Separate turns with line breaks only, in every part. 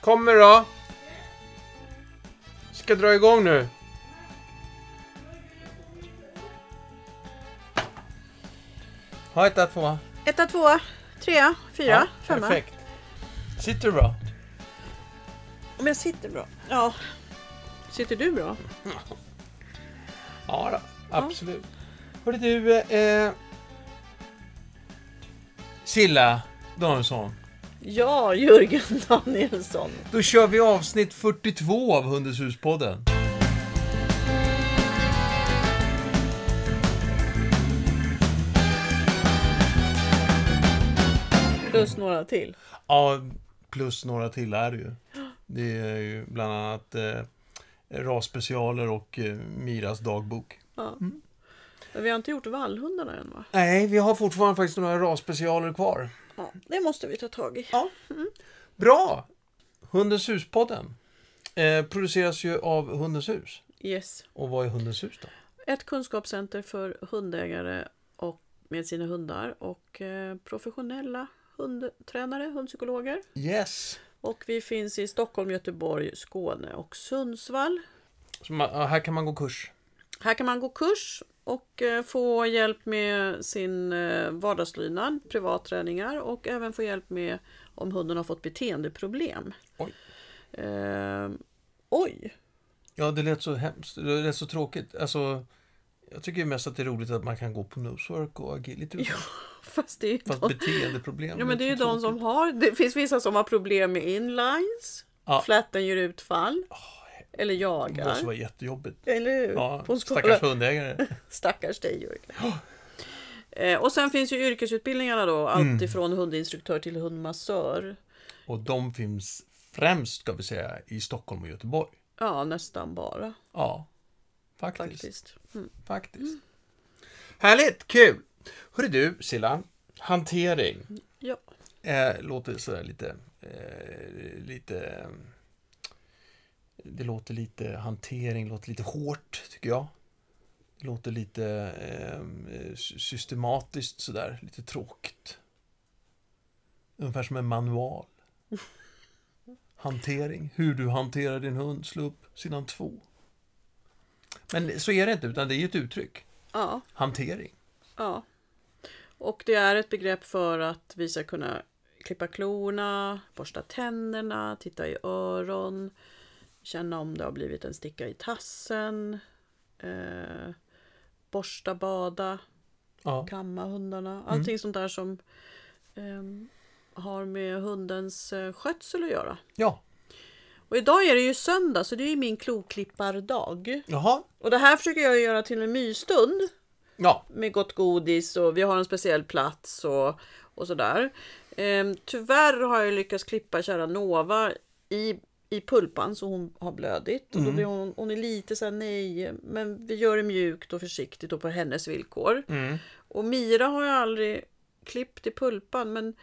Kommer då! Ska dra igång nu. Ha ett, ett, två.
Etta, tvåa, trea, fyra,
Ja,
femma.
Perfekt. Sitter du bra?
Om jag sitter bra? Ja. Sitter du bra?
Ja, då, absolut. Hörru du, eh, eh, Silla Danielsson.
Ja, Jörgen Danielsson.
Då kör vi avsnitt 42 av Hundens hus-podden.
Plus några till.
Ja, plus några till är det ju. Det är ju bland annat eh, RAS-specialer och eh, Miras dagbok.
Ja.
Mm.
Men vi har inte gjort vallhundarna än va?
Nej, vi har fortfarande faktiskt några RAS-specialer kvar.
Ja, det måste vi ta tag i.
Ja. Bra! Hundens hus-podden eh, produceras ju av Hundens hus.
Yes.
Och vad är Hundens hus då?
Ett kunskapscenter för hundägare och med sina hundar och eh, professionella hundtränare, hundpsykologer.
Yes!
Och vi finns i Stockholm, Göteborg, Skåne och Sundsvall.
Så man, ja, här kan man gå kurs.
Här kan man gå kurs och eh, få hjälp med sin eh, vardagslydnad, privatträningar och även få hjälp med om hunden har fått beteendeproblem.
Oj.
Eh, oj!
Ja, det lät så hemskt. Det lät så tråkigt. Alltså, jag tycker ju mest att det är roligt att man kan gå på nosework och agility.
Ja, fast det är ju
Fast
de,
beteendeproblem. liksom
ja, men det är ju
låter
de
tråkigt.
som har. Det finns vissa som har problem med inlines,
Ja.
flatten gör utfall eller
Det måste
jagar.
vara jättejobbigt.
Eller hur?
Ja,
På en skala-
stackars hundägare.
Stackars dig Jörgen. Eh, och sen finns ju yrkesutbildningarna då,
Mm.
allt ifrån hundinstruktör till hundmassör.
Och de finns främst, ska vi säga, i Stockholm och Göteborg.
Ja, nästan bara
Ja, faktiskt. faktiskt.
faktiskt. Mm.
Härligt, kul! Hörru du, Silla. Hantering.
Ja.
Eh, låter sådär lite... Eh, lite... Det låter lite hantering, låter lite hårt tycker jag. Det låter lite eh, sy- systematiskt sådär, lite tråkigt. Ungefär som en manual. Hantering, hur du hanterar din hund, slå upp sidan två. Men så är det inte, utan det är ett uttryck.
ja,
Hantering.
ja. Och det är ett begrepp för att vi ska kunna klippa klorna, borsta tänderna, titta i öron, känna om det har blivit en sticka i tassen, eh, borsta, bada,
Ja.
kamma hundarna. Allting sånt där som ehm, har med hundens eh, skötsel att göra.
ja.
Och idag är det ju söndag så det är ju min kloklippardag.
Jaha.
Och det här försöker jag göra till en mysstund.
Ja.
med gott godis och vi har en speciell plats och, och sådär. Ehm, tyvärr har jag lyckats klippa kära Nova i, i pulpan så hon har blödigt. Och
Mm.
då blir hon, hon är lite såhär nej, men vi gör det mjukt och försiktigt och på hennes villkor.
Mm.
Och Mira har jag aldrig klippt i pulpan men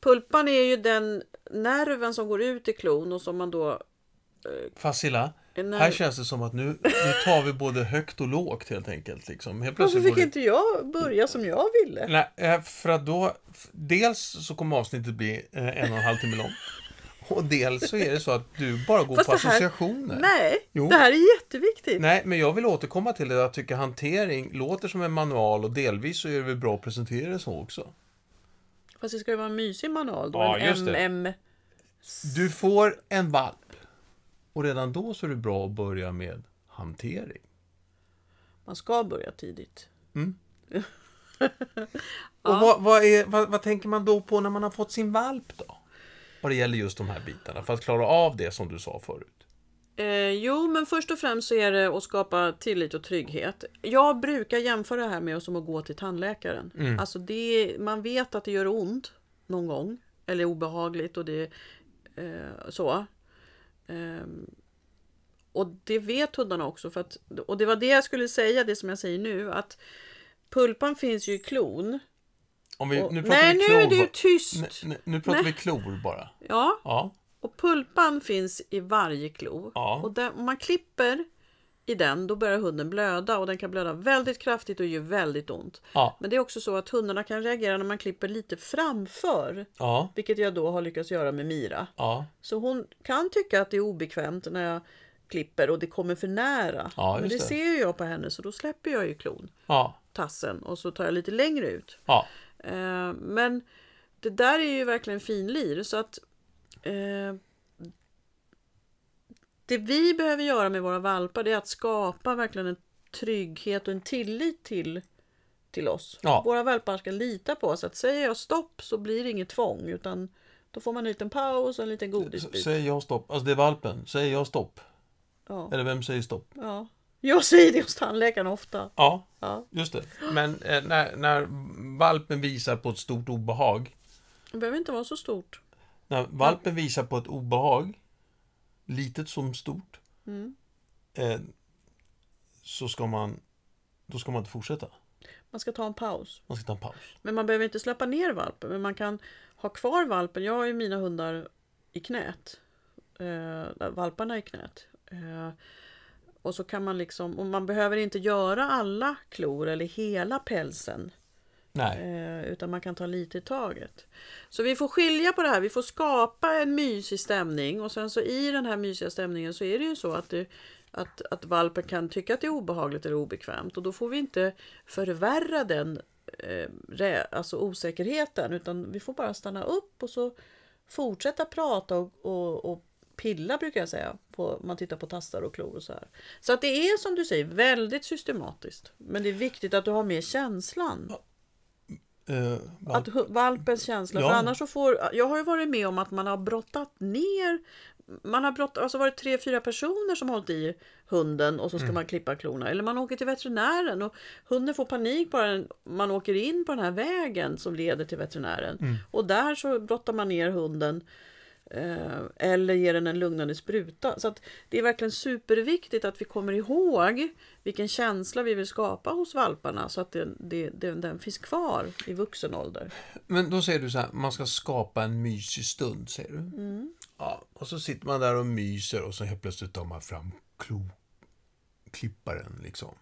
pulpan är ju den nerven som går ut i klon och som man då...
Fast Silla,
En
Här
nerv...
känns det som att nu, nu tar vi både högt och lågt helt enkelt. Liksom. Helt
Varför
plötsligt
fick
går det-
inte jag börja som jag ville?
Nej, eh, för att då, f- dels så kommer avsnittet bli eh, en och en halv timme långt. Och dels så är det så att du bara går
Fast
på
det här-
associationer.
Nej,
Jo.
det här är jätteviktigt.
Nej, men jag vill återkomma till det. Jag tycker hantering låter som en manual och delvis så är det väl bra att presentera det så också.
Fast det ska ju vara en mysig manual då.
Ja,
en
just det.
MM.
Du får en valp. Och redan då så är det bra att börja med hantering.
Man ska börja tidigt.
Och vad, vad, är, vad, vad tänker man då på när man har fått sin valp då? Vad det gäller just de här bitarna, för att klara av det som du sa förut.
Eh, jo, men först och främst så är det att skapa tillit och trygghet. Jag brukar jämföra det här med som att gå till tandläkaren.
Mm.
Alltså det, man vet att det gör ont någon gång. Eller är obehagligt och det eh, så. Ehm, och det vet hundarna också. För att, och det var det jag skulle säga, det som jag säger nu. Att pulpan finns ju i klon.
Om vi,
Och,
nu pratar
nej,
vi
nu
klor
är du
bara.
tyst!
Nej, nu pratar vi klor bara.
Ja.
Ja,
Och pulpan finns i varje klo.
Ja.
Och där, om man klipper i den, då börjar hunden blöda och den kan blöda väldigt kraftigt och gör väldigt ont.
Ja.
Men det är också så att hundarna kan reagera när man klipper lite framför,
Ja.
vilket jag då har lyckats göra med Mira.
Ja.
Så hon kan tycka att det är obekvämt när jag klipper och det kommer för nära.
Ja,
Men
just
det
det.
ser ju jag på henne så då släpper jag ju klon,
Ja.
tassen, och så tar jag lite längre ut.
Ja.
Eh, men det där är ju verkligen finlir så att eh, det vi behöver göra med våra valpar det är att skapa verkligen en trygghet och en tillit till, till oss.
Ja.
Våra valpar ska lita på oss. Att säger jag stopp så blir det inget tvång utan då får man en liten paus och en liten
S-
godisbit.
Säger jag stopp? Alltså det är valpen. Säger jag stopp?
Ja,
Eller vem säger stopp?
ja. Jag säger det hos tandläkaren ofta.
Ja,
Ja.
just det. Men eh, när, när valpen visar på ett stort obehag.
Det behöver inte vara så stort.
När valpen visar på ett obehag, litet som stort,
Mm.
eh, så ska man, då ska man inte fortsätta.
Man ska ta en paus.
Man ska ta en paus.
Men man behöver inte släppa ner valpen, men man kan ha kvar valpen. Jag har ju mina hundar i knät. Eh, valparna i knät. Eh, och så kan man liksom, och man behöver inte göra alla klor eller hela pälsen.
Nej,
Eh, utan man kan ta lite i taget. Så vi får skilja på det här. Vi får skapa en mysig stämning och sen så i den här mysiga stämningen så är det ju så att, det, att, att valpen kan tycka att det är obehagligt eller obekvämt och då får vi inte förvärra den eh, rä- alltså osäkerheten utan vi får bara stanna upp och så fortsätta prata och, och, och pilla brukar jag säga. På, om man tittar på tassar och klor och så här. Så att det är som du säger väldigt systematiskt. Men det är viktigt att du har med känslan.
eh, valp,
Att hu- valpens känsla.
Ja.
För annars så får, jag har ju varit med om att man har brottat ner, man har brott, alltså varit tre, fyra personer som hållit i hunden och så ska man klippa klorna. Eller man åker till veterinären och hunden får panik bara den- man åker in på den här vägen som leder till veterinären. Och där så brottar man ner hunden. eh, Eller ger den en lugnande spruta. Så att det är verkligen superviktigt att vi kommer ihåg vilken känsla vi vill skapa hos valparna så att den, det- den, den finns kvar i vuxen ålder.
men då säger du så här, man ska skapa en mysig stund, säger du. Ja, och så sitter man där och myser och så helt plötsligt tar man fram kloklipparen liksom.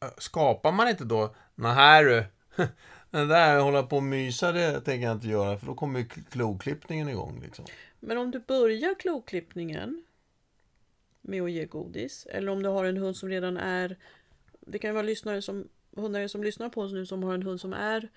Ö, Skapar man inte då, nej här du, den där hålla på och mysa det tänker jag inte göra för då kommer ju kl- kloklippningen igång liksom.
Men om du börjar kloklippningen med att ge godis eller om du har en hund som redan är det kan ju vara lyssnare som, hundar som lyssnar på oss nu som har en hund som är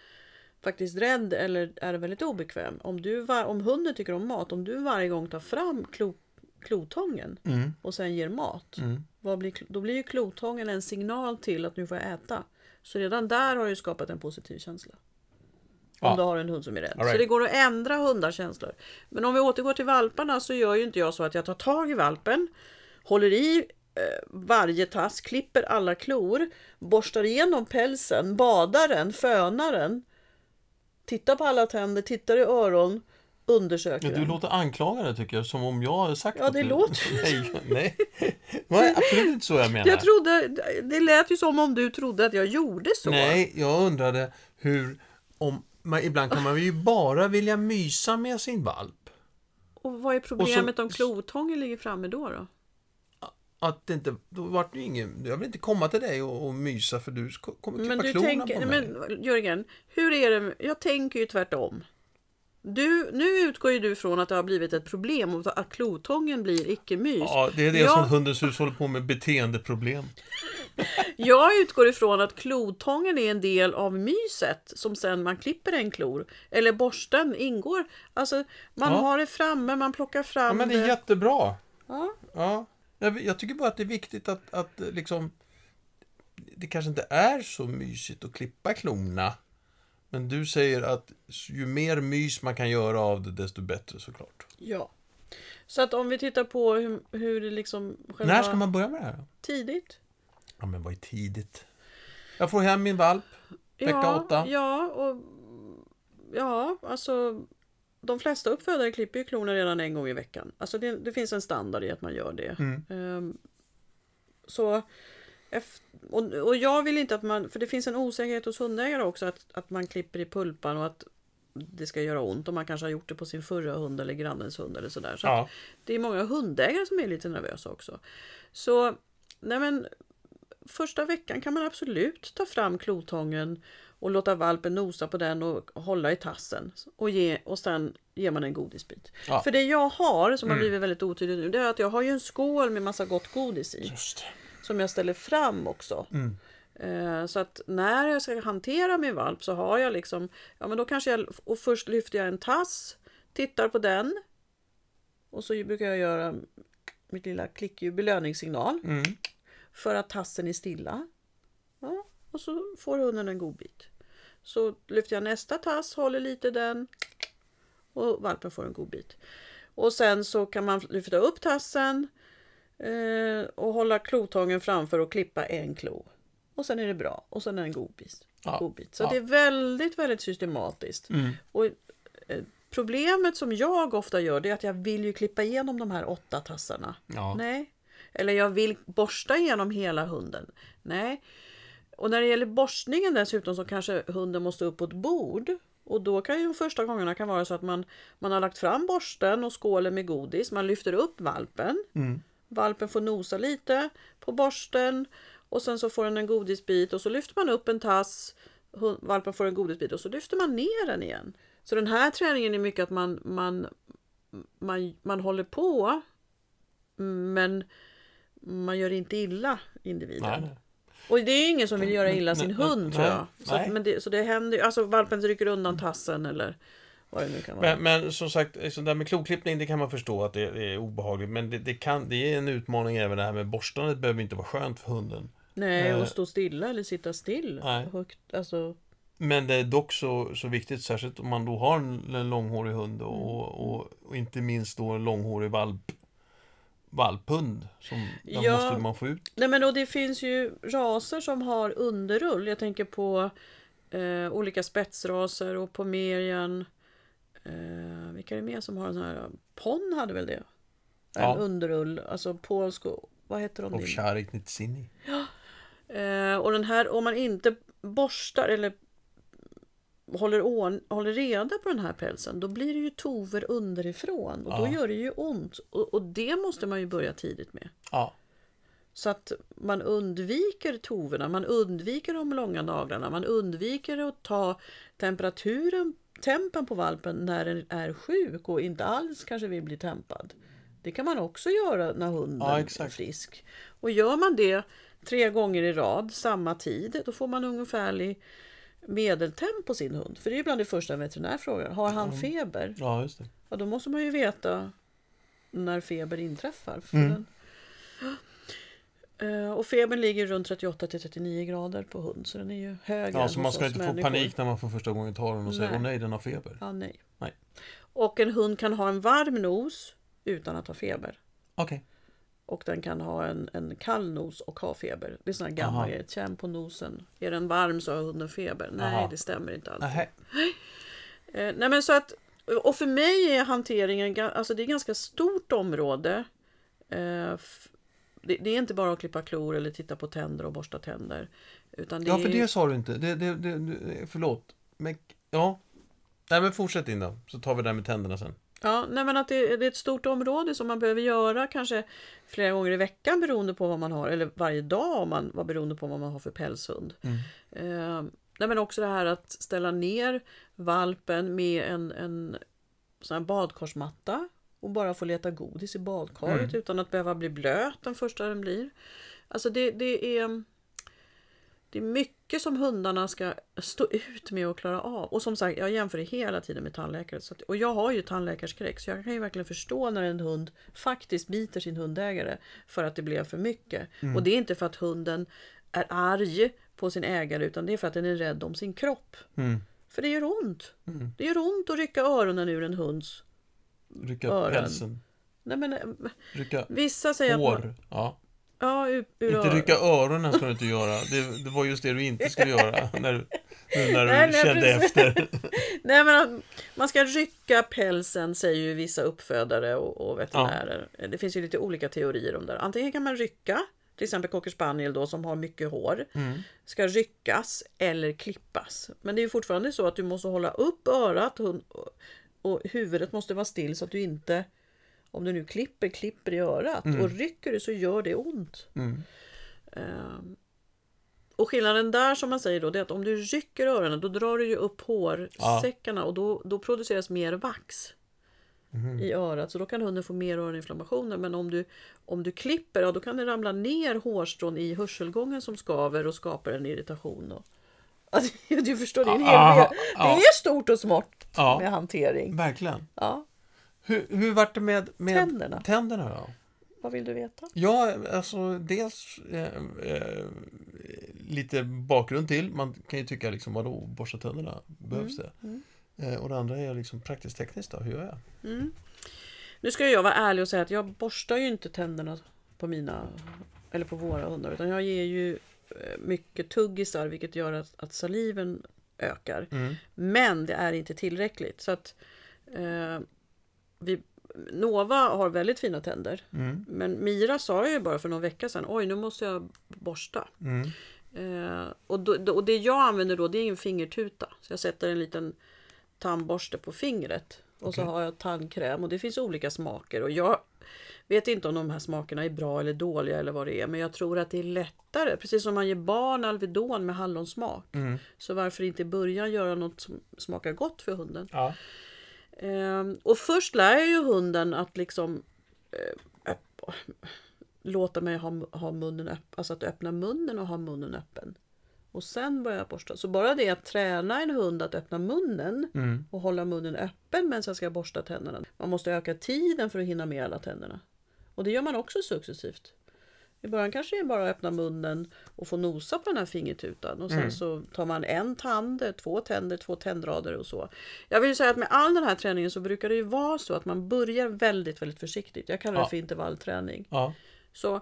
faktiskt rädd eller är väldigt obekväm. Om, du var, om hunden tycker om mat, om du varje gång tar fram klo, klotången
Mm.
och sen ger mat,
Mm.
vad blir, kl- då blir ju klotången en signal till att nu får jag äta. Så redan där har du skapat en positiv känsla. Om
Ja.
du har en hund som är rädd.
All right.
Så det går att ändra hundars känslor. Men om vi återgår till valparna så gör ju inte jag så att jag tar tag i valpen, håller i eh, varje tass, klipper alla klor, borstar igenom pälsen, badar den, fönar den, tittar på alla tänder, tittar i öron, undersöker
Ja, du
den.
låter anklagande tycker jag, som om jag har sagt
Ja,
att
det
du...
låter ju
Nej, nej. Det var absolut inte så jag menar.
Jag trodde, det lät ju som om du trodde att jag gjorde så.
Nej, jag undrade hur... Om, man, ibland kan man ju bara vilja mysa med sin valp.
Och vad är problemet
Och så-
om klotången ligger framme då? då?
Att det inte... Då vart det ju ingen... Jag vill inte komma till dig och, och mysa för du sk- kommer klippa
Men du
klorna på
tänker,
mig.
men Jörgen, hur är det? Jag tänker ju tvärtom. Du, nu utgår ju du från att det har blivit ett problem och att klotången blir icke-mys.
Ja, det är det
jag,
som Hundens hus håller på med, beteendeproblem.
jag utgår ifrån att klotången är en del av myset som sen man klipper en klor. Eller borsten ingår. Alltså, man
Ja.
har det framme, man plockar fram
Ja, men det är jättebra.
Ja.
Ja. Jag, jag tycker bara att det är viktigt att, att eh, liksom... Det kanske inte är så mysigt att klippa klorna. Men du säger att ju mer mys man kan göra av det, desto bättre såklart.
ja. Så att om vi tittar på hur, hur det liksom... Själva
När ska man börja med det här? då?
Tidigt.
Ja, men vad är tidigt? Jag får hem min valp. Vecka
ja,
åtta.
Ja, och ja, alltså de flesta uppfödare klipper ju klorna redan en gång i veckan. Alltså det, det finns en standard i att man gör det.
Mm.
Ehm, så eft- och, och jag vill inte att man, för det finns en osäkerhet hos hundägare också att, att man klipper i pulpan och att det ska göra ont och man kanske har gjort det på sin förra hund eller grannens hund eller sådär. Så att
Ja.
det är många hundägare som är lite nervösa också. Så Nej men första veckan kan man absolut ta fram klotången och låta valpen nosa på den och hålla i tassen. Och, ge, och sen ger man en godisbit.
Ja.
För det jag har, som har blivit väldigt otydligt nu, det är att jag har ju en skål med massa gott godis i.
Just det.
Som jag ställer fram också. Eh, Så att när jag ska hantera min valp så har jag liksom, ja men då kanske jag, och först lyfter jag en tass, tittar på den. Och så brukar jag göra mitt lilla klickljud, belöningssignal
Mm.
för att tassen är stilla. Ja, och så får hunden en god bit. Så lyfter jag nästa tass, håller lite i den och valpen får en god bit. Och sen så kan man lyfta upp tassen eh, och hålla klotången framför och klippa en klo. Och sen är det bra och sen är det en god bit.
Ja,
God bit. Så
ja. Mm.
det är väldigt, väldigt systematiskt. Och, eh, problemet som jag ofta gör det är att jag vill ju klippa igenom de här åtta tassarna.
Ja.
Nej. Eller jag vill borsta igenom hela hunden. Nej. Och när det gäller borstningen dessutom så kanske hunden måste upp på ett bord. Och då kan ju de första gångerna kan vara så att man, man har lagt fram borsten och skålen med godis. Man lyfter upp valpen. Valpen får nosa lite på borsten och sen så får den en godisbit och så lyfter man upp en tass. Hund- Valpen får en godisbit och så lyfter man ner den igen. Så den här träningen är mycket att man, man, man, man håller på men man gör inte illa individen.
Nej, nej.
Och det är ju ingen som vill göra illa
Nej,
sin
nej,
hund tror jag.
nej,
Så, att,
nej.
men det, så det händer ju, alltså valpen rycker undan tassen eller vad det nu kan vara.
Men, men som sagt, eh, så där med kloklippning det kan man förstå att det är obehagligt. Men det, det, kan, det är en utmaning även det här med borstandet behöver inte vara skönt för hunden.
Nej,
eh,
och stå stilla eller sitta still.
nej.
Högt, alltså,
Men det är dock så, så viktigt, särskilt om man då har en, en långhårig hund och, och, och inte minst då en långhårig valp, valphund. Som den
Ja.
måste man få ut.
Nej men och det finns ju raser som har underrull. Jag tänker på eh, olika spetsraser och pomerian. Eh, vilka är det mer som har en sån här? Pon hade väl det?
Ja.
En underrull. Alltså polsk och vad heter de?
Och Sharik Nitsini.
Eh, och den här, om man inte borstar eller håller, ordn- håller reda på den här pälsen, då blir det ju tover underifrån och då
Ja.
gör det ju ont. Och, och det måste man ju börja tidigt med.
Ja.
Så att man undviker toverna, man undviker de långa naglarna, man undviker att ta temperaturen, tempen på valpen när den är sjuk och inte alls kanske vill bli tempad. Det kan man också göra när hunden
Ja, exakt.
är frisk. Och gör man det tre gånger i rad, samma tid, då får man ungefärlig medeltemp på sin hund. För det är ju bland det första en veterinär frågar. Har han feber?
ja, just det.
Ja, då måste man ju veta när feber inträffar. För
Mm.
den. Eh, Och febern ligger runt 38 till 39 grader på hund, så den är ju högre
Ja,
än
så man
hos
ska
oss
inte få
människor.
panik när man för första gången tar den och säger
Nej.
åh nej, den har feber.
Ja, nej.
Nej.
Och en hund kan ha en varm nos utan att ha feber.
Okej.
Och den kan ha en, en kall nos och ha feber. Det är sådana
Aha.
gamla grejer. Känn på nosen. Är den varm så har hunden feber. Nej,
Aha.
det stämmer inte alls.
Nähä.
Eh, nej men så att, och för mig är hanteringen, ga- alltså det är ganska stort område. Eh, f- det, det är inte bara att klippa klor eller titta på tänder och borsta tänder. Utan det
Ja, för
är,
det sa du inte. Det, det, det, det, förlåt. Men, ja. Nej, men fortsätt Linda, så tar vi det här med tänderna sen.
ja, nej men att det, det är ett stort område som man behöver göra kanske flera gånger i veckan beroende på vad man har, eller varje dag om man var beroende på vad man har för pälshund. Eh, nej men också det här att ställa ner valpen med en, en sån här badkarsmatta och bara få leta godis i badkaret utan att behöva bli blöt den första den blir. Alltså det, det är det är mycket som hundarna ska stå ut med och klara av. Och som sagt, jag jämför det hela tiden med tandläkare. Så att, och jag har ju tandläkarskräck, så jag kan ju verkligen förstå när en hund faktiskt biter sin hundägare för att det blev för mycket.
Mm.
Och det är inte för att hunden är arg på sin ägare, utan det är för att den är rädd om sin kropp.
Mm.
För det gör ont. Det gör ont att rycka öronen ur en hunds...
Rycka
Öron.
pälsen.
Nej men, eh,
Rycka
vissa säger att... Man,
hår. Ja.
ja, ur, ur
Inte
öron.
rycka öronen ska du inte göra. Det, det var just det du inte skulle göra. När, du- nu när du
Nej, nej,
kände
precis.
efter.
Nej men att man ska rycka pälsen säger ju vissa uppfödare och, och veterinärer. Det finns ju lite olika teorier om det. här. Antingen kan man rycka, till exempel cocker spaniel då som har mycket hår, ska ryckas eller klippas. Men det är ju fortfarande så att du måste hålla upp örat hund- och, och huvudet måste vara still så att du
Mm.
inte, om du nu klipper, klipper i örat. Och rycker du så gör det ont. Ehm, och skillnaden där som man säger då, det är att om du rycker öronen då drar du ju upp hårsäckarna och då, då produceras mer vax
Mhm.
i örat. Så då kan hunden få mer öroninflammationer. Men om du, om du klipper, ja, då kan det ramla ner hårstrån i hörselgången som skaver och skapar en irritation. Då. Alltså, du förstår, det är, en hel
Aha,
del. det
ja.
är stort och smått
Ja.
med hantering.
Verkligen.
Ja,
Hur, hur vart det med, med
Tänderna.
tänderna då?
vad vill du veta?
Ja, alltså dels eh, eh, lite bakgrund till. Man kan ju tycka liksom, vadå, borsta tänderna, behövs det? Eh, och det andra är liksom praktiskt tekniskt då, hur gör jag?
Nu ska ju jag vara ärlig och säga att jag borstar ju inte tänderna på mina eller på våra hundar utan jag ger ju eh, mycket tuggisar vilket gör att, att saliven ökar. Men det är inte tillräckligt så att eh, vi, Nova har väldigt fina tänder. Men Mira sa ju bara för någon vecka sedan oj nu måste jag borsta.
Mm.
Eh, och, då, då, och det jag använder då det är en fingertuta. Så jag sätter en liten tandborste på fingret. Och så
Okej.
har jag tandkräm och det finns olika smaker. Och jag vet inte om de här smakerna är bra eller dåliga eller vad det är. Men jag tror att det är lättare. Precis som man ger barn Alvedon med hallonsmak. Så varför inte i början göra något som smakar gott för hunden.
Ja.
Ehm, och först lär jag ju hunden att liksom eh, öpp- låta mig ha, ha munnen öppen, alltså att öppna munnen och ha munnen öppen. Och sen börjar jag borsta. Så bara det att träna en hund att öppna munnen och hålla munnen öppen medan jag ska borsta tänderna. Man måste öka tiden för att hinna med alla tänderna. Och det gör man också successivt. I början kanske det är bara att öppna munnen och få nosa på den här fingertutan och sen så tar man en tand, två tänder, två tändrader och så. Jag vill ju säga att med all den här träningen så brukar det ju vara så att man börjar väldigt, väldigt försiktigt. Jag kallar det
Ja.
för intervallträning.
ja.
Så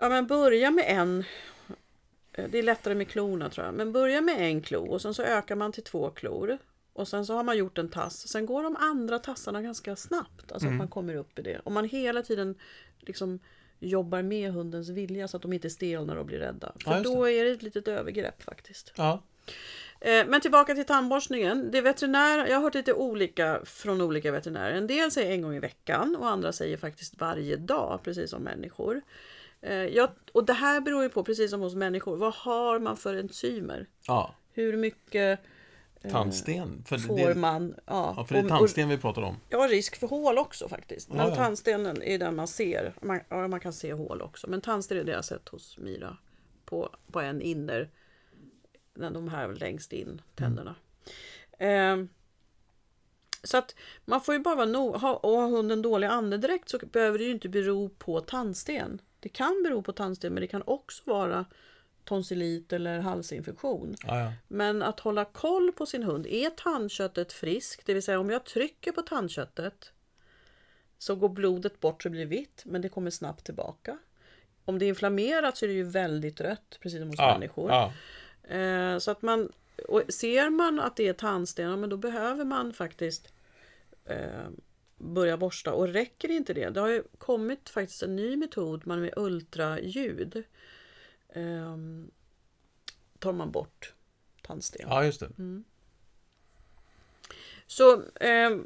ja, men börja med en. eh, Det är lättare med klorna tror jag. Men börja med en klo och sen så ökar man till två klor. Och sen så har man gjort en tass. Sen går de andra tassarna ganska snabbt.
Mm.
Alltså att man kommer upp i det. Om man hela tiden liksom jobbar med hundens vilja så att de inte stelnar och blir rädda. För
Ja, just
då är det ett litet övergrepp faktiskt.
ja.
Eh, Men tillbaka till tandborstningen. Det är veterinär, jag har hört lite olika från olika veterinärer. En del säger en gång i veckan och andra säger faktiskt varje dag, precis som människor. Eh, Jag, och det här beror ju på, precis som hos människor, vad har man för enzymer?
ja.
Hur mycket
Eh, Tandsten. För
får
det,
man? Ja,
ja, för det är
och- och-
tandsten vi pratar om.
Ja, risk för hål också faktiskt. Men
Ja, ja.
tandstenen är den man ser. Man, ja, man kan se hål också. Men tandsten är det jag sett hos Mira. På, på en inner. När de här längst
Mm.
in tänderna. Ehm, så att man får ju bara vara no- ha, och har hunden dålig andedräkt så behöver det ju inte bero på tandsten. Det kan bero på tandsten men det kan också vara tonsillit eller halsinfektion.
Ja, ja.
Men att hålla koll på sin hund, är tandköttet friskt? Det vill säga om jag trycker på tandköttet så går blodet bort så blir det vitt men det kommer snabbt tillbaka. Om det är inflammerat så är det ju väldigt rött precis som hos
Ja,
människor.
ja.
Eh, så att man, och ser man att det är tandsten, ja, men då behöver man faktiskt eh, börja borsta. Och räcker inte det, det har ju kommit faktiskt en ny metod man med ultraljud eh, tar man bort tandsten.
ja, just det.
Så eh,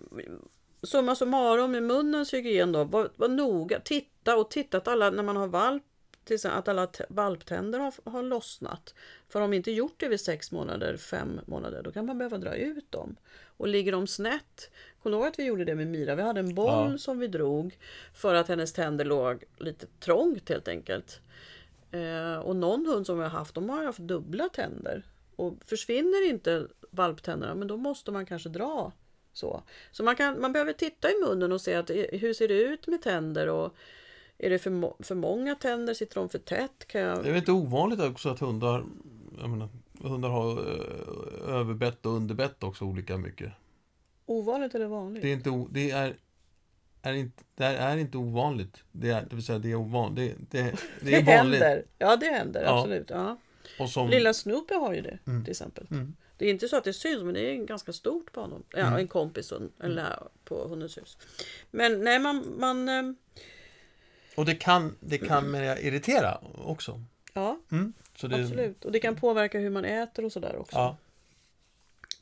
summa summarum med munnens hygien då, var, var noga, titta och titta att alla, när man har valp, till exempel, att alla t- valptänder har, har lossnat. För om inte gjort det vid sex månader, fem månader, då kan man behöva dra ut dem. Och ligger de snett, kommer du ihåg att vi gjorde det med Mira? Vi hade en boll
Ja.
som vi drog för att hennes tänder låg lite trångt helt enkelt. Eh, och någon hund som vi har haft, de har ju haft dubbla tänder. Och försvinner inte valptänderna, men då måste man kanske dra. Så, så man, kan, man behöver titta i munnen och se att, eh, hur ser det ut med tänder och är det för, må- för många tänder? Sitter de för tätt? Kan jag...
Det är väl inte ovanligt också att hundar, jag menar, hundar har eh, överbett och underbett också olika mycket.
Ovanligt eller vanligt?
Det är inte, o- det är, är inte, det här är inte ovanligt. Det, är, det vill säga, det är ovanligt. Det, det, det är vanligt.
händer. Ja, det händer
Ja. Mm.
absolut. Ja.
Och som,
Lilla Snoopy har ju det till exempel. Det är inte så att det syns, men det är ganska stort på honom. Ja,
Mm.
En kompis och en, en lä- på Hundens hus. Men nej, man... man ehm,
Och det kan, det kan menar jag, irritera också.
ja,
Mm. Så det,
absolut. Och det kan påverka hur man äter och sådär också.
Ja,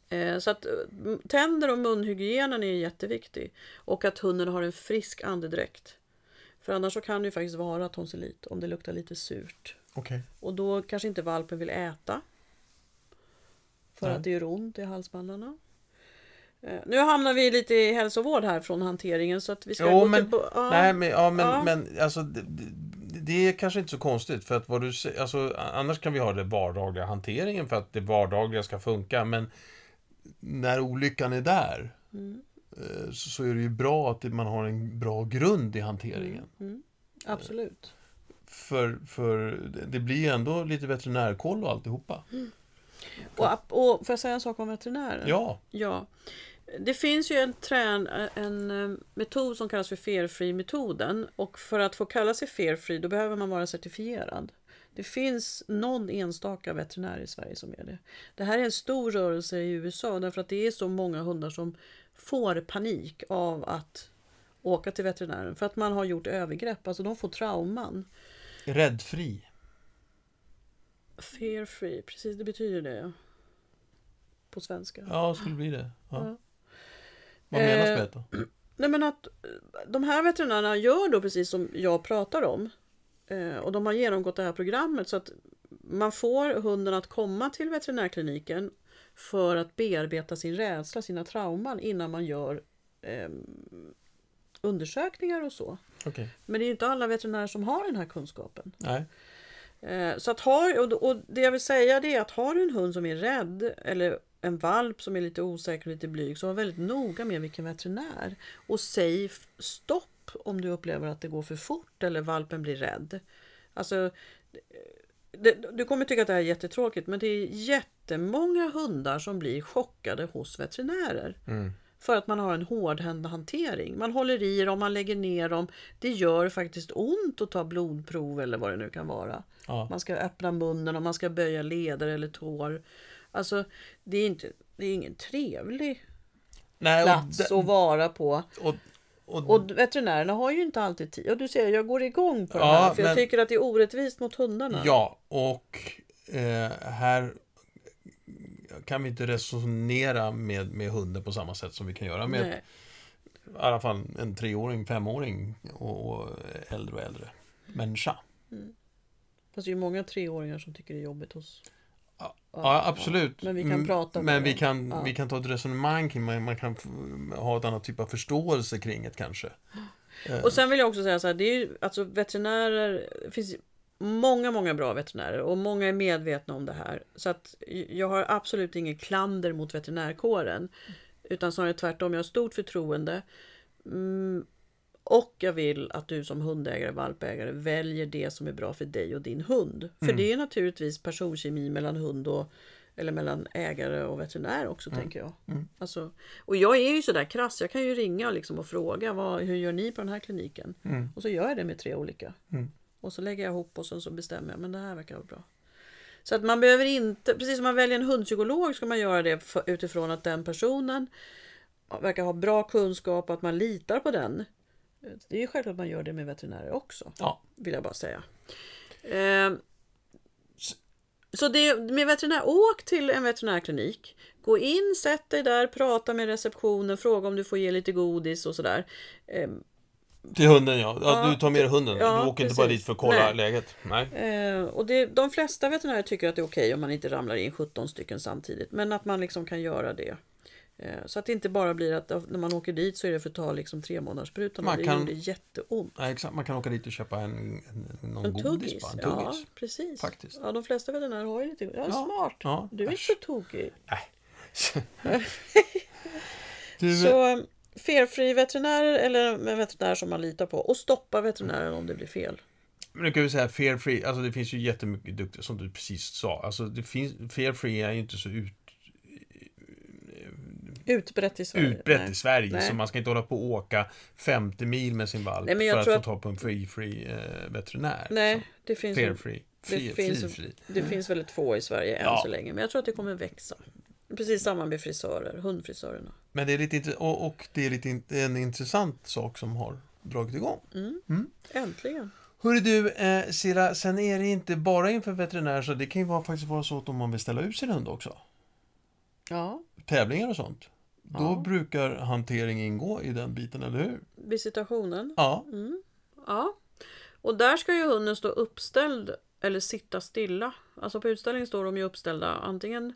Eh, Så att eh, m- tänder och munhygienen är jätteviktig. Och att hunden har en frisk andedräkt. För annars så kan det ju faktiskt vara tonsillit om det luktar lite surt.
Okej.
Och då kanske inte valpen vill äta. För
Nej.
att det gör ont i halsbandarna. Eh, Nu hamnar vi lite i hälsovård här från hanteringen så att vi ska
Jo,
gå
men-
till... bo- ja.
Nej, men, ja, men,
Ja.
men alltså, det, det- det är kanske inte så konstigt. För att vad du, sä- alltså, annars kan vi ha den vardagliga hanteringen för att det vardagliga ska funka. Men när olyckan är där
Mm,
eh, så, så är det ju bra att man har en bra grund i hanteringen.
mm, absolut.
För, för det blir ju ändå lite veterinärkoll och alltihopa.
Mm. Och, ap- och får jag säga en sak om veterinären?
Ja,
Ja. Det finns ju en, trän, en eh, metod som kallas för fear-free-metoden och för att få kalla sig fear-free då behöver man vara certifierad. Det finns någon enstaka veterinär i Sverige som är det. Det här är en stor rörelse i USA därför att det är så många hundar som får panik av att åka till veterinären för att man har gjort övergrepp, alltså de får trauman.
räddfri.
Fear-free, precis det betyder det ja. På svenska.
Ja, skulle bli det. Ja.
Ja.
Vad menas
Eh,
med det då?
Nej men att eh, de här veterinärerna gör då precis som jag pratar om. Eh, och de har genomgått det här programmet så att man får hunden att komma till veterinärkliniken för att bearbeta sin rädsla, sina trauman innan man gör eh, undersökningar och så.
Okej,
Men det är ju inte alla veterinärer som har den här kunskapen.
nej.
Eh, Så att har, och- och det jag vill säga det är att har du en hund som är rädd eller en valp som är lite osäker och lite blyg så var väldigt noga med vilken veterinär. Och säg f- stopp om du upplever att det går för fort eller valpen blir rädd. Alltså, det, du kommer tycka att det här är jättetråkigt men det är jättemånga hundar som blir chockade hos veterinärer. För att man har en hårdhänt hantering. Man håller i dem, man lägger ner dem. Det gör faktiskt ont att ta blodprov eller vad det nu kan vara.
Ja.
Man ska öppna munnen och man ska böja leder eller tår. Alltså, det är, inte, det är ingen trevlig
Nej, och,
plats
de-
att vara på.
och, och,
Och veterinärerna har ju inte alltid tid. Och du ser, jag går igång på det
Ja,
här. För
men-
jag tycker att det är orättvist mot hundarna.
Ja, och eh, här kan vi inte resonera med, med hunden på samma sätt som vi kan göra med
Nej.
i alla fall en treåring, femåring och, och äldre och äldre människa.
Fast det är ju många treåringar som tycker det är jobbigt hos...
Ja,
ja.
Ja, absolut.
Men vi kan
Mm,
prata om
Men
det.
vi kan,
Ja.
vi kan ta ett resonemang kring man, man kan f- ha ett annat typ av förståelse kring det kanske. Eh,
Och sen vill jag också säga så här, det är ju, alltså veterinärer, det finns många, många bra veterinärer och många är medvetna om det här. Så att jag har absolut ingen klander mot veterinärkåren. Utan snarare tvärtom, jag har stort förtroende. Mm, och jag vill att du som hundägare, valpägare väljer det som är bra för dig och din hund. För det är naturligtvis personkemi mellan hund och eller mellan ägare och veterinär också tänker jag. Alltså, och jag är ju sådär krass, jag kan ju ringa liksom och fråga vad, hur gör ni på den här kliniken? Och så gör jag det med tre olika. Och så lägger jag ihop och sen så bestämmer jag, men det här verkar vara bra. Så att man behöver inte, precis som man väljer en hundpsykolog ska man göra det för, utifrån att den personen verkar ha bra kunskap och att man litar på den. Det är ju självklart att man gör det med veterinärer också,
ja.
vill jag bara säga. Ehm, så det, med veterinär, åk till en veterinärklinik. Gå in, sätt dig där, prata med receptionen, fråga om du får ge lite godis och sådär. Ehm,
Till hunden ja. ja
Ja,
du tar med dig hunden.
ja,
du åker inte bara
precis.
dit för att kolla
Nej.
läget. Nej.
Eh, och det, de flesta veterinärer tycker att det är okej om man inte ramlar in 17 stycken samtidigt. Men att man liksom kan göra det. Eh, så att det inte bara blir att när man åker dit så är det för att ta liksom tre månaders sprutan.
Man
Det
kan-
gjorde jätteont.
Nej, exakt. Man kan åka dit och köpa en, en, någon
En
godis
tuggis.
bara. En
Ja,
tuggis.
precis.
Faktiskt.
Ja, de flesta veterinärer har ju lite... Ja, smart.
ja,
du är
äsch.
inte så tokig.
Nej. du,
Så eh, felfri veterinärer eller en veterinär som man litar på. Och stoppa veterinären om det blir fel.
Men nu kan vi säga fair free, alltså det finns ju jättemycket duktiga, som du precis sa. Alltså det finns, fair free är ju inte så ut,
Utbrett i Sverige.
utbrett
Nej.
i Sverige.
Nej.
Så man ska inte hålla på och åka 50 mil med sin valp
Nej, men jag
för att
tror
få
att-
ta på en free free eh, veterinär.
Nej, det
Så,
finns
fair
en-
free.
Det,
Fri,
finns,
fri, fri.
det finns väldigt få i Sverige än
Ja.
så länge, men jag tror att det kommer växa. Precis samma med frisörer, hundfrisörerna.
Men det är lite, intre- och, och det är lite in, en intressant sak som har dragit igång.
Äntligen!
Hörru du, eh, Silla, sen är det inte bara inför veterinär så det kan ju vara, faktiskt vara så att om man vill ställa ut sin hund också.
Ja,
Tävlingar och sånt. Då
Ja.
brukar hantering ingå i den biten, eller hur?
visitationen.
Ja,
Ja. Och där ska ju hunden stå uppställd eller sitta stilla. Alltså på utställning står de ju uppställda antingen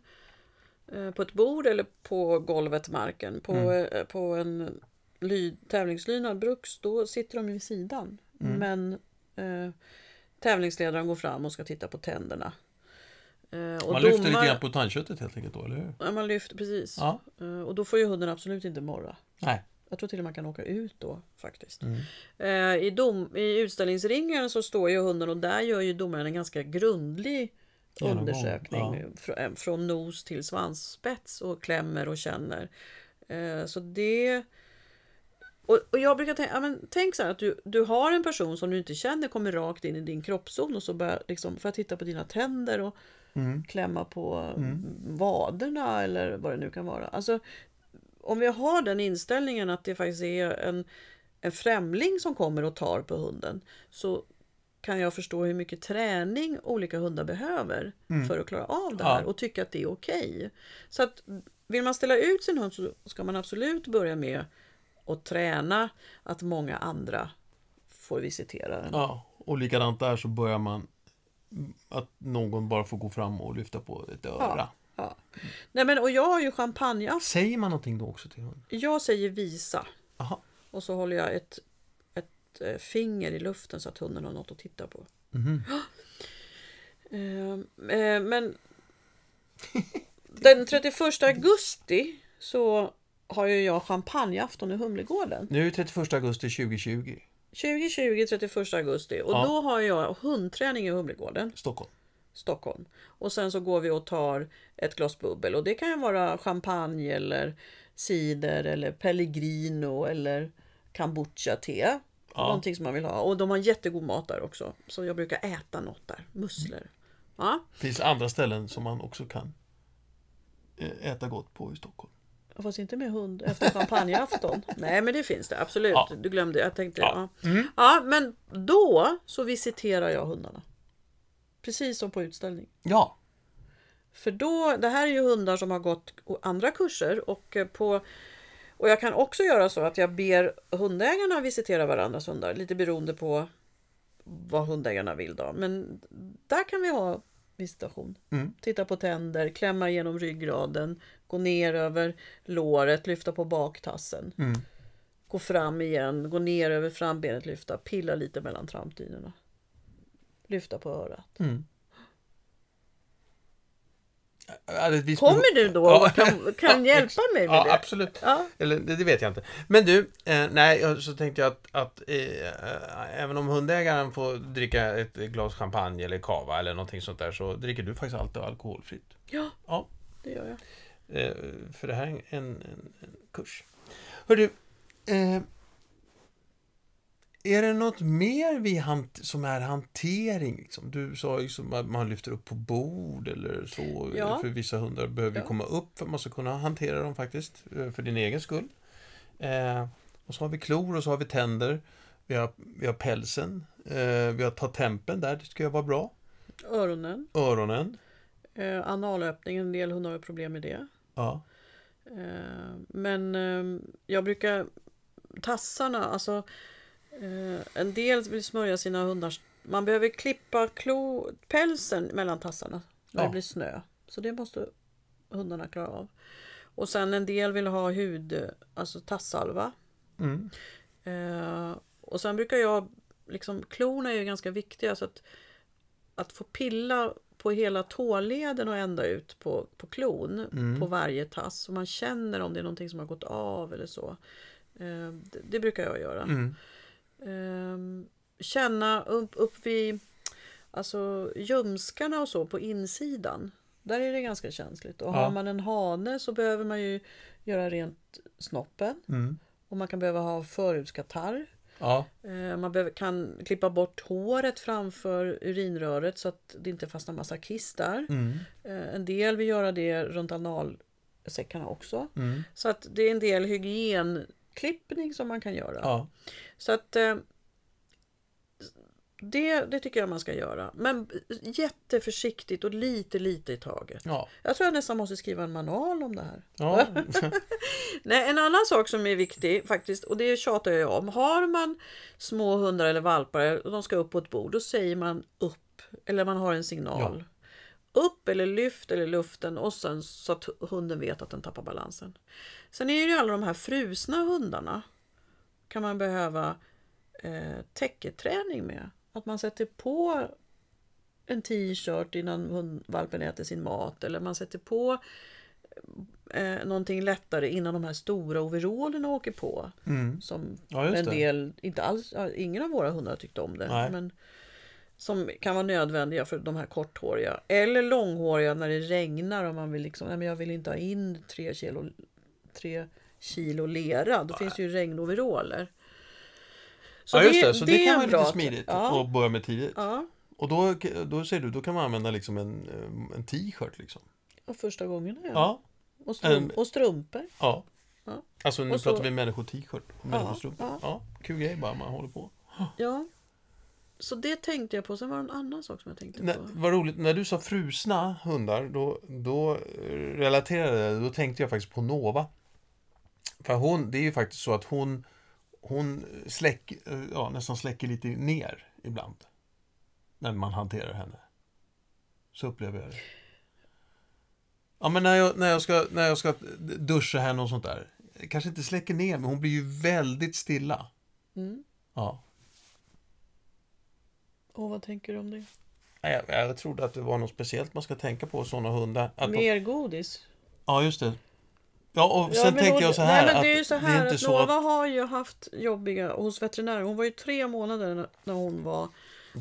eh, på ett bord eller på golvet, marken. På,
Mm.
eh, på en ly, tävlingslynad Brooks, då sitter de ju vid sidan.
Mm.
Men eh, tävlingsledaren går fram och ska titta på tänderna. Eh, och
Man lyfter
domar-
lite grann på tandköttet helt enkelt då, eller hur?
Ja, man lyfter, precis.
Ja.
Eh, Och då får ju hunden absolut inte morra.
Nej.
Jag tror till och med man kan åka ut då faktiskt.
Mm.
Eh, I, dom, I utställningsringen så står ju hunden och där gör ju domaren en ganska grundlig
Genomgång,
undersökning.
ja.
Frå- eh, från nos till svansspets och klämmer och känner. Eh, så det... Och, och jag brukar tänka, ja, men tänk så här att du, du har en person som du inte känner kommer rakt in i din kroppszon och så börjar liksom, för att titta på dina tänder och
Mm.
klämma på vaderna eller vad det nu kan vara. Alltså, om vi har den inställningen att det faktiskt är en, en främling som kommer och tar på hunden så kan jag förstå hur mycket träning olika hundar behöver för att klara av det här
Mm. Ja.
och tycka att det är okej. Så att vill man ställa ut sin hund så ska man absolut börja med att träna att många andra får visitera den.
Ja, och likadant där så börjar man att någon bara får gå fram och lyfta på ett öra.
Ja. Ja. Nej, men, och jag har ju champagneask.
Säger man någonting då också till hunden?
Jag säger visa.
Aha.
Och så håller jag ett, ett eh, finger i luften så att hunden har något att titta på. Eh, eh, Men den 31 augusti så har ju jag champagneafton i Humlegården.
Nu är det 31 augusti 2020,
2020 31 augusti och
Ja.
då har jag hundträning i Humlegården,
Stockholm.
Stockholm. Och sen så går vi och tar ett glas bubbel och det kan ju vara champagne eller cider eller pellegrino eller kombucha-te. Någonting som man vill ha. Och de har jättegod mat där också. Så jag brukar äta något där. Musslor. Ja,
finns andra ställen som man också kan eh, äta gott på i Stockholm.
fast inte med hund efter champagneafton. Nej, men det finns det absolut.
Ja.
Du glömde, jag tänkte.
Ja.
Ja. ja, men då så visiterar jag hundarna. Precis som på utställning.
Ja,
För då, det här är ju hundar som har gått andra kurser och eh, på och jag kan också göra så att jag ber hundägarna visitera varandras hundar lite beroende på vad hundägarna vill då. Men där kan vi ha visitation.
Mm.
Titta på tänder, klämma genom ryggraden, gå ner över låret, lyfta på baktassen.
Mm.
Gå fram igen, gå ner över frambenet, lyfta, pilla lite mellan trampdynorna. Lyfta på örat.
Ja, det är ett visst behov-
Kommer du då
Ja.
och kan, kan hjälpa mig med
Ja,
det?
absolut.
Ja.
Eller det, det vet jag inte. Men du, eh, nej, jag- så tänkte jag att, att eh, eh, även om hundägaren får dricka ett glas champagne eller kava eller någonting sånt där så dricker du faktiskt alltid alkoholfritt.
Ja,
Ja,
det gör jag.
eh, för det här är en, en, en kurs. Hör du, eh, är det något mer vi hant- som är hantering? Liksom? Du sa ju som att man lyfter upp på bord eller så.
Ja.
För vissa hundar behöver ju
Ja.
komma upp för att man ska kunna hantera dem faktiskt, eh, för din egen skull. Eh, och så har vi klor och så har vi tänder. Vi har, vi har pälsen. Eh, vi har tatempen där, det tycker jag var bra.
Öronen,
Öronen.
eh, analöppningen, en del hundar har problem med det.
Ja.
Eh, men eh, jag brukar tassarna, alltså eh, en del vill smörja sina hundars man behöver klippa klo, pälsen mellan tassarna när
Ja.
det blir snö. Så det måste hundarna klara av. Och sen en del vill ha hud, alltså tassalva.
Mm.
Eh, och sen brukar jag, liksom klorna är ju ganska viktiga så att, att få pilla på hela tåleden och ända ut på, på klon
Mm.
på varje tass så man känner om det är någonting som har gått av eller så. Eh, det, det brukar jag göra.
Mm.
Ehm, känna upp, upp vid alltså, ljumskarna och så på insidan. Där är det ganska känsligt. Och
Ja.
har man en hane så behöver man ju göra rent snoppen.
Mm.
Och man kan behöva ha förhudskatarr.
Ja.
Eh, Man behöver, kan klippa bort håret framför urinröret så att det inte fastnar massa kiss där.
Mm.
Eh, En del vill göra det runt analsäckarna också.
Mm.
Så att det är en del hygienklippning som man kan göra.
Ja.
Så att eh, Det, det tycker jag man ska göra. Men jätteförsiktigt och lite, lite i taget.
Ja.
Jag tror jag nästan måste skriva en manual om det här.
ja.
Nej, en annan sak som är viktig faktiskt, och det tjatar jag om. Har man små hundar eller valpar och de ska upp på ett bord, då säger man upp. Eller man har en signal. Upp eller lyft eller luften och sen så att hunden vet att den tappar balansen. Sen är det ju alla de här frusna hundarna. Kan man behöva eh, täcketräning med. Att man sätter på en t-shirt innan hund, valpen äter sin mat eller man sätter på eh, någonting lättare innan de här stora overallerna åker på.
Mm.
Som
Ja, just
en
det.
del, inte alls, ja, ingen av våra hundar tyckte om det.
Nej.
Men som kan vara nödvändiga för de här korthåriga. Eller långhåriga när det regnar och man vill liksom, nej men jag vill inte ha in tre kilo, tre kilo lera. Då finns det ju regnoveraller.
ja, just det. Så det, kan vara
bra
lite
att-
smidigt
Ja,
att börja med tidigt.
ja,
Och då, då säger du, då kan man använda liksom en, eh, en t-shirt liksom.
och första gången ja.
Ja.
Och, strump,
Ehm,
och strumpor.
Ja.
Ja.
Alltså nu
Och så-
pratar vi människo-t-shirt och människostrumpor. Ja.
ja.
Kul grej bara, man håller på.
Ja. Så det tänkte jag på. Sen var det en annan sak som jag tänkte
När,
på.
vad roligt, när du sa frusna hundar, då, då eh, relaterade jag, då tänkte jag faktiskt på Nova. För hon, det är ju faktiskt så att hon, hon släck, eh, ja, nästan släcker lite ner ibland. När man hanterar henne. Så upplever jag det. Ja men när jag, när jag, ska, när jag ska duscha henne och sånt där. Kanske inte släcker ner, men hon blir ju väldigt stilla.
Mm.
Ja.
Och vad tänker du om det?
Nej, Jag, jag trodde att det var något speciellt man ska tänka på sådana hundar. Att de-
Mer godis?
Ja, just det. Ja, och
Ja,
sen
men
tänker
hon-
jag så här
Nej, men
att
det är ju så här
inte
att
så
Nova
att
har ju haft jobbiga hos veterinären. Hon var ju tre månader när- när hon var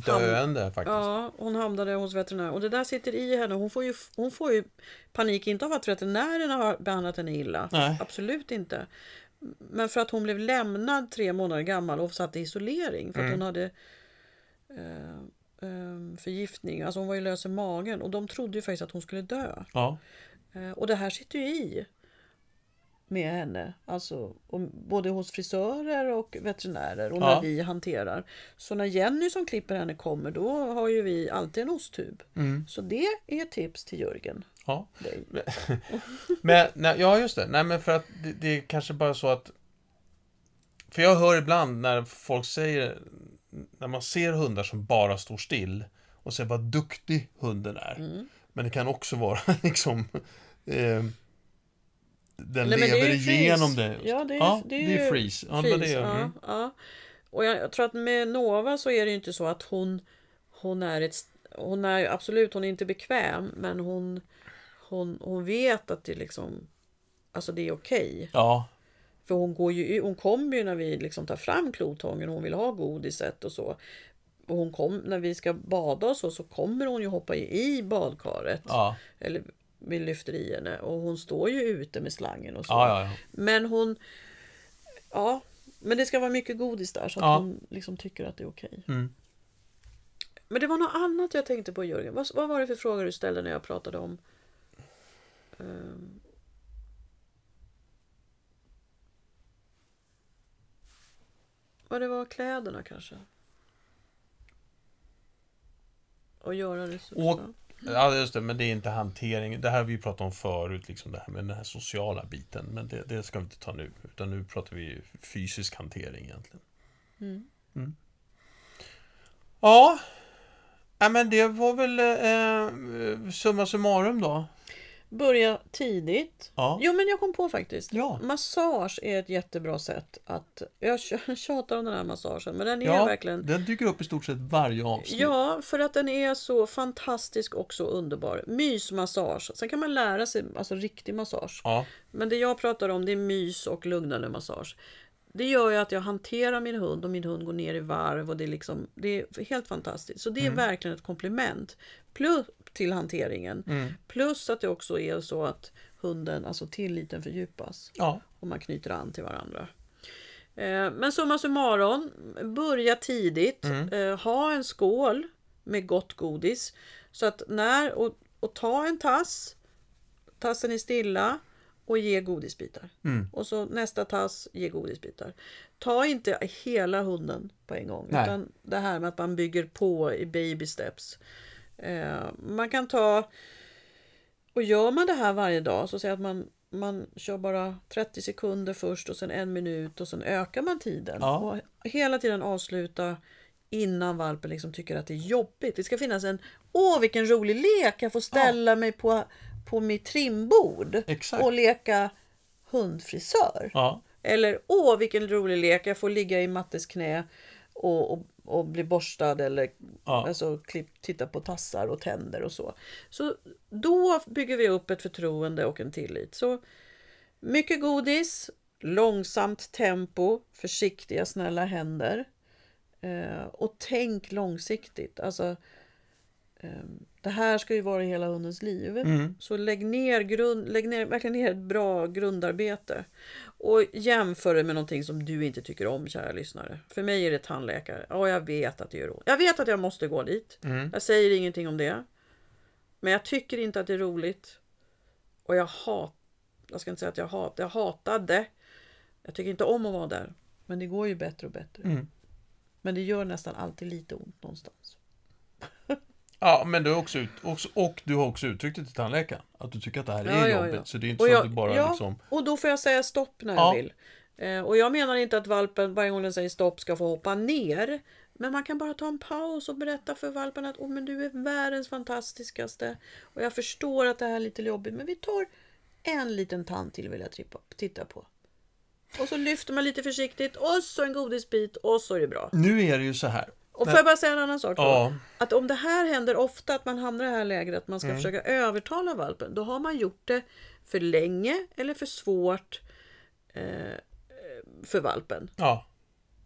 döende faktiskt.
Ja, hon hamnade hos veterinären och det där sitter i henne. Hon får ju, hon får ju panik, inte av att veterinärerna har behandlat henne illa.
Nej.
Absolut inte. Men för att hon blev lämnad tre månader gammal och satt i isolering för att
Mm.
hon hade eh, eh, förgiftning. Alltså hon var ju lös i magen och de trodde ju faktiskt att hon skulle dö.
Ja,
Eh, Och det här sitter ju i med henne, alltså och både hos frisörer och veterinärer och när
Ja.
vi hanterar. Så när Jenny som klipper henne kommer då har ju vi alltid en osttub.
Mm.
Så det är ett tips till Jörgen.
ja.
dig.
Men, nej, ja, just det. Nej, men för att det, det är kanske bara så att... För jag hör ibland när folk säger, när man ser hundar som bara står still och säger vad duktig hunden är.
Mm.
Men det kan också vara liksom... Eh, den
Nej, men det är
lever
ju freeze.
igenom det. just.
Ja, det är,
ja,
det är, ju
freeze. Ja, det var det.
freeze,
jag-
ja,
Mm.
ja. Och jag, jag tror att med Nova så är det ju inte så att hon, hon är ett... Hon är ju- absolut, hon är inte bekväm, men hon, hon, hon vet att det liksom... Alltså det är okej.
Ja,
För hon, går ju, hon kom ju när vi liksom tar fram klotången och hon vill ha godiset och så. Och hon kom, när vi ska bada och så, så kommer hon ju hoppa i i badkaret.
ja,
Eller vi lyfter i henne och hon står ju ute med slangen och så.
ja, ja, ja.
Men hon... Ja, men det ska vara mycket godis där så att
Ja.
hon liksom tycker att det är okej.
Mm.
Men det var något annat jag tänkte på Jörgen. Vad, vad var det för frågor du ställde när jag pratade om... ehm, Vad det var kläderna kanske? Och göra det så
Och- Ja, just det, men det är inte hantering. Det här har vi pratat om förut, liksom det här med den här sociala biten. Men det, det ska vi inte ta nu, utan nu pratar vi fysisk hantering egentligen.
Mm.
Mm. Ja. ja, men det var väl eh, summa summarum då.
Börja tidigt.
Ja,
Jo men jag kom på faktiskt.
ja.
Massage är ett jättebra sätt att... Jag tjatar om den här massagen men den är
ja
verkligen...
den dyker upp i stort sett varje avsnitt.
Ja, för att den är så fantastisk och så underbar. Mysmassage. Sen kan man lära sig alltså riktig massage.
Ja,
Men det jag pratar om det är mys och lugnande massage. Det gör ju att jag hanterar min hund och min hund går ner i varv och det är liksom det är helt fantastiskt. Så det är verkligen ett komplement plus, till hanteringen. Plus att det också är så att hunden, alltså tilliten fördjupas
ja.
och man knyter an till varandra. Eh, Men summa summarum, börja tidigt,
Mm.
eh, ha en skål med gott godis. Så att när, och, och ta en tass, tassen är stilla och ge godisbitar.
Mm.
Och så nästa tass, ge godisbitar. Ta inte hela hunden på en gång.
Nej.
Utan det här med att man bygger på i baby steps. Eh, man kan ta... Och gör man det här varje dag, så säg att man, man kör bara 30 sekunder först och sen en minut och sen ökar man tiden.
Ja.
Och hela tiden avsluta innan valpen liksom tycker att det är jobbigt. Det ska finnas en, åh vilken rolig lek, jag får ställa mig på, på mitt trimbord
Exakt.
och leka hundfrisör.
Ja.
Eller åh vilken rolig lek, jag får ligga i Mattes knä och, och, och bli borstad eller
Ja.
alltså, klipp, titta på tassar och tänder och så. Så då bygger vi upp ett förtroende och en tillit. Så mycket godis, långsamt tempo, försiktiga snälla händer. Eh, och tänk långsiktigt. Alltså, ehm, det här ska ju vara i hela hundens liv. Så lägg ner, grund, lägg ner verkligen ner ett bra grundarbete. Och jämför det med någonting som du inte tycker om, kära lyssnare. För mig är det tandläkare. Ja, jag vet att det gör ont. Jag vet att jag måste gå dit. Jag säger ingenting om det. Men jag tycker inte att det är roligt. Och jag hat... Jag ska inte säga att jag hat... Jag hatade. Jag tycker inte om att vara där. Men det går ju bättre och bättre.
Mm.
Men det gör nästan alltid lite ont någonstans.
ja, men du har också ut, också, och du har också uttryckt det till tandläkaren. Att du tycker att det här är
Ja, ja,
jobbigt.
ja.
Så det är inte
Och
så
jag-
att du bara
ja,
liksom...
Och då får jag säga stopp när
Ja.
jag vill. Eh, och jag menar inte att valpen varje gång den säger stopp ska få hoppa ner. Men man kan bara ta en paus och berätta för valpen att oh, men du är världens fantastiskaste. Och jag förstår att det här är lite jobbigt men vi tar en liten tand till vill jag trippa, titta på. Och så lyfter man lite försiktigt och så en godisbit och så är det bra.
Nu är det ju så här.
Och får jag bara säga en annan sak då?
Ja.
Att om det här händer ofta, att man hamnar i det här lägret att man ska försöka övertala valpen, då har man gjort det för länge eller för svårt eh, eh, för valpen.
Ja.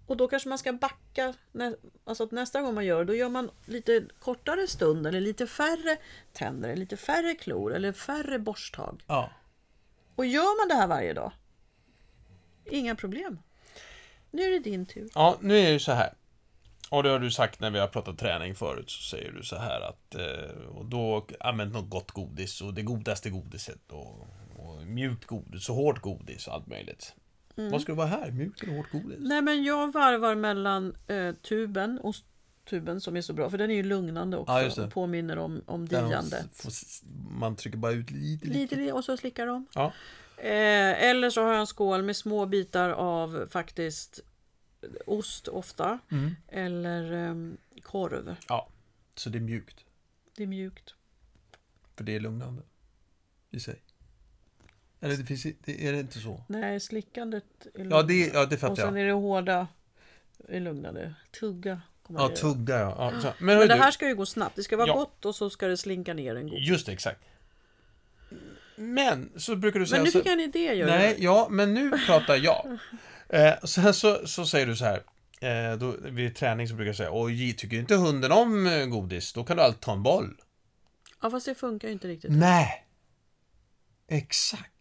Och då kanske man ska backa, nä- alltså att nästa gång man gör då gör man lite kortare stund eller lite färre tänder, eller lite färre klor eller färre borsttag.
Ja.
Och gör man det här varje dag, inga problem. Nu är det din tur.
Ja, nu är det ju så här. Och det har du sagt när vi har pratat träning förut, så säger du så här att eh, och då använd något gott godis och det godaste godiset och, och mjukt godis och hårt godis och allt möjligt.
Mm.
Vad ska det vara här? Mjukt eller hårt godis?
Nej men jag varvar mellan eh, tuben, osttuben som är så bra för den är ju lugnande också
Ja, just det.
och påminner om, om
Där de
diande.
s- får s- Man trycker bara ut lite, lite.
Lite li- och så slickar de.
Ja.
Eh, eller så har jag en skål med små bitar av faktiskt ost ofta
Mm.
eller ehm, korv.
ja. Så det är mjukt.
Det är mjukt.
För det är lugnande. I sig. Eller det finns, i- det, är det inte så?
Nej, slickandet är
Ja,
lugnande.
det, ja, det
och
fattar
sen
jag.
är det hårda är lugnande. Tugga kommer
Ja,
det
tugg där ja. ja så.
Men
hör
det
du.
här ska ju gå snabbt. Det ska vara
Ja.
gott och så ska det slinka ner en god.
Just det, exakt. Men så brukar du säga
Men nu
så,
fick jag en idé Jörgen.
Nej, ja, men nu pratar jag. Eh, sen så, så säger du så här. Eh, då, vid träning så brukar jag säga, oj, tycker inte hunden om eh, godis, då kan du alltid ta en boll.
Ja fast det funkar ju inte riktigt.
Nej! Exakt.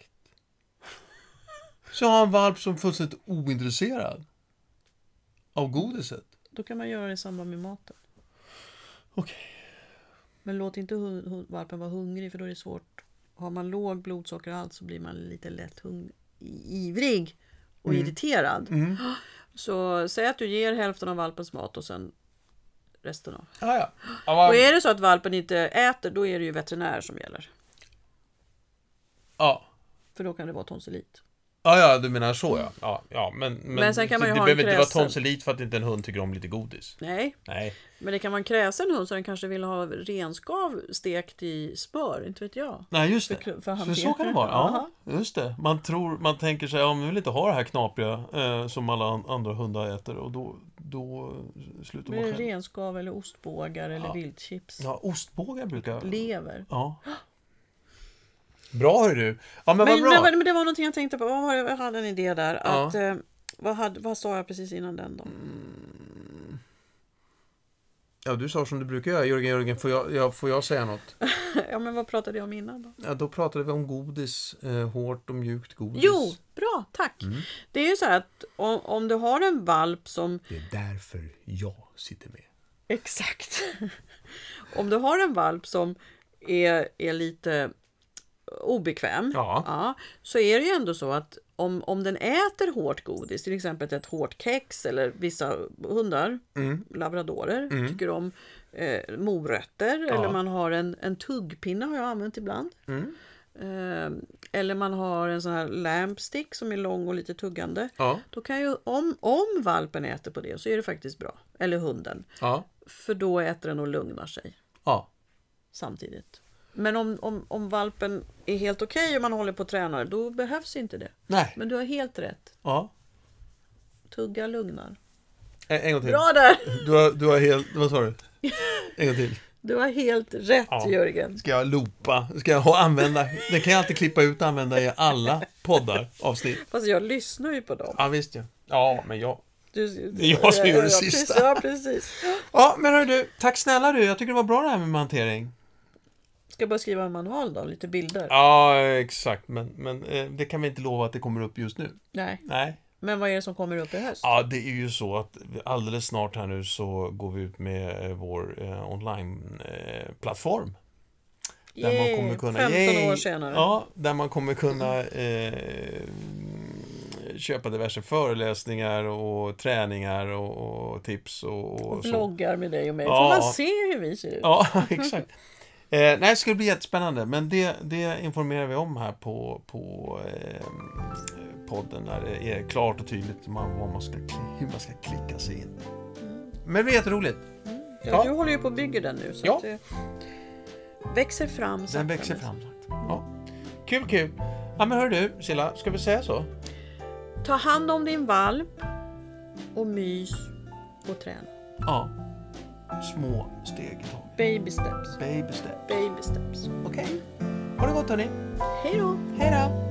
Så jag har en valp som är fullständigt ointresserad av godiset.
Då kan man göra det i samband med maten.
Okej.
Men låt inte hu- hu- valpen vara hungrig för då är det svårt. Har man låg blodsockerhalt så blir man lite lätt hung- i- ivrig och
Mm.
irriterad. Så säg att du ger hälften av valpens mat och sen resten av.
Ah, ja, ja. Ja,
Och är det så att valpen inte äter då är det ju veterinär som gäller.
ja.
För då kan det vara tonsillit.
Ja, ja, du menar så ja. ja, ja men, men,
sen kan man ju
det
ha en
behöver inte vara
kräsen.
tonsillit för att inte en hund tycker om lite godis.
Nej,
Nej.
men det kan vara en kräsen hund så den kanske vill ha renskav stekt i smör, inte vet jag.
Nej, just
För-
det.
för hantering.
För så kan det vara. Ja, just det. Man tror, man tänker sig, ja, men vi vill inte ha det här knapriga eh, som alla an- andra hundar äter och då, då eh, slutar
Blir
man
det
själv.
renskav eller ostbågar eller viltchips?
Ja, ostbågar brukar...
Lever.
Ja. Bra hörru du. Ja, men,
Men,
vad bra.
men, men det var någonting jag tänkte på. Vad var det, jag hade en idé där.
Ja. Mm.
Att, eh, vad, hade, vad sa jag precis innan den då?
Ja, du sa som du brukar göra, Jörgen Jörgen. Får jag, ja, får jag säga något?
Ja men vad pratade jag om innan då?
Ja, då pratade vi om godis, eh, hårt och mjukt godis.
Jo, bra, tack.
Mm.
Det är ju så här att om, om du har en valp som...
Det är därför jag sitter med.
Exakt. om du har en valp som är, är lite obekväm.
Ja.
så är det ju ändå så att om, om den äter hårt godis, till exempel ett hårt kex eller vissa hundar, labradorer, tycker om eh, morötter eller man har en, en tuggpinne har jag använt ibland. Eh, eller man har en sån här lampstick som är lång och lite tuggande.
Ja.
Då kan ju, om, om valpen äter på det så är det faktiskt bra. Eller hunden.
Ja.
För då äter den och lugnar sig
Ja.
samtidigt. Men om, om, om valpen är helt okej och man håller på och tränar, då behövs inte det.
Nej.
Men du har helt rätt.
Ja.
Tugga lugnar.
En, en gång till.
Bra där!
Du har, du har helt... Vad sa du? En gång till.
Du har helt rätt
Ja.
Jörgen.
Ska jag loopa? Ska jag ha- använda? Den kan jag alltid klippa ut och använda i alla poddar, avsnitt.
Fast jag lyssnar ju på dem.
Ja, visst ja. Ja, men jag...
Du,
Det är jag som gör det
ja,
sista.
Precis, ja, precis.
Ja, men hörru du. Tack snälla du. Jag tycker det var bra det här med hantering.
Ska jag bara skriva en manual då, lite bilder?
Ja, exakt. Men, men eh, det kan vi inte lova att det kommer upp just nu.
Nej.
Nej.
Men vad är det som kommer upp i höst?
Ja, det är ju så att alldeles snart här nu så går vi ut med eh, vår eh, online-plattform. Där man
Yay,
kommer kunna,
15
yay,
år senare.
Ja, där man kommer kunna eh, köpa diverse föreläsningar och träningar och, och tips och, och så.
Vloggar med dig och mig.
Ja.
Får man se hur vi ser ut?
Ja, exakt. Eh, nej, det ska bli jättespännande, men det, det informerar vi om här på, på eh, podden när det är klart och tydligt hur man, vad man ska, kli- hur man ska klicka sig in.
Mm.
Men det blir jätteroligt.
Ja,
Ja.
Du håller ju på och bygger den nu. Så
Ja.
att det växer fram. sakta
Den växer
men-
fram. sagt. Ja. Kul, kul. Ja, men hör du, Silla, ska vi säga så?
Ta hand om din valp och mys och träna.
Ja. Små steg i taget.
Baby steps.
Baby step.
Baby steps.
Okej. Ha det gott hörni.
Hej då!
Hej då.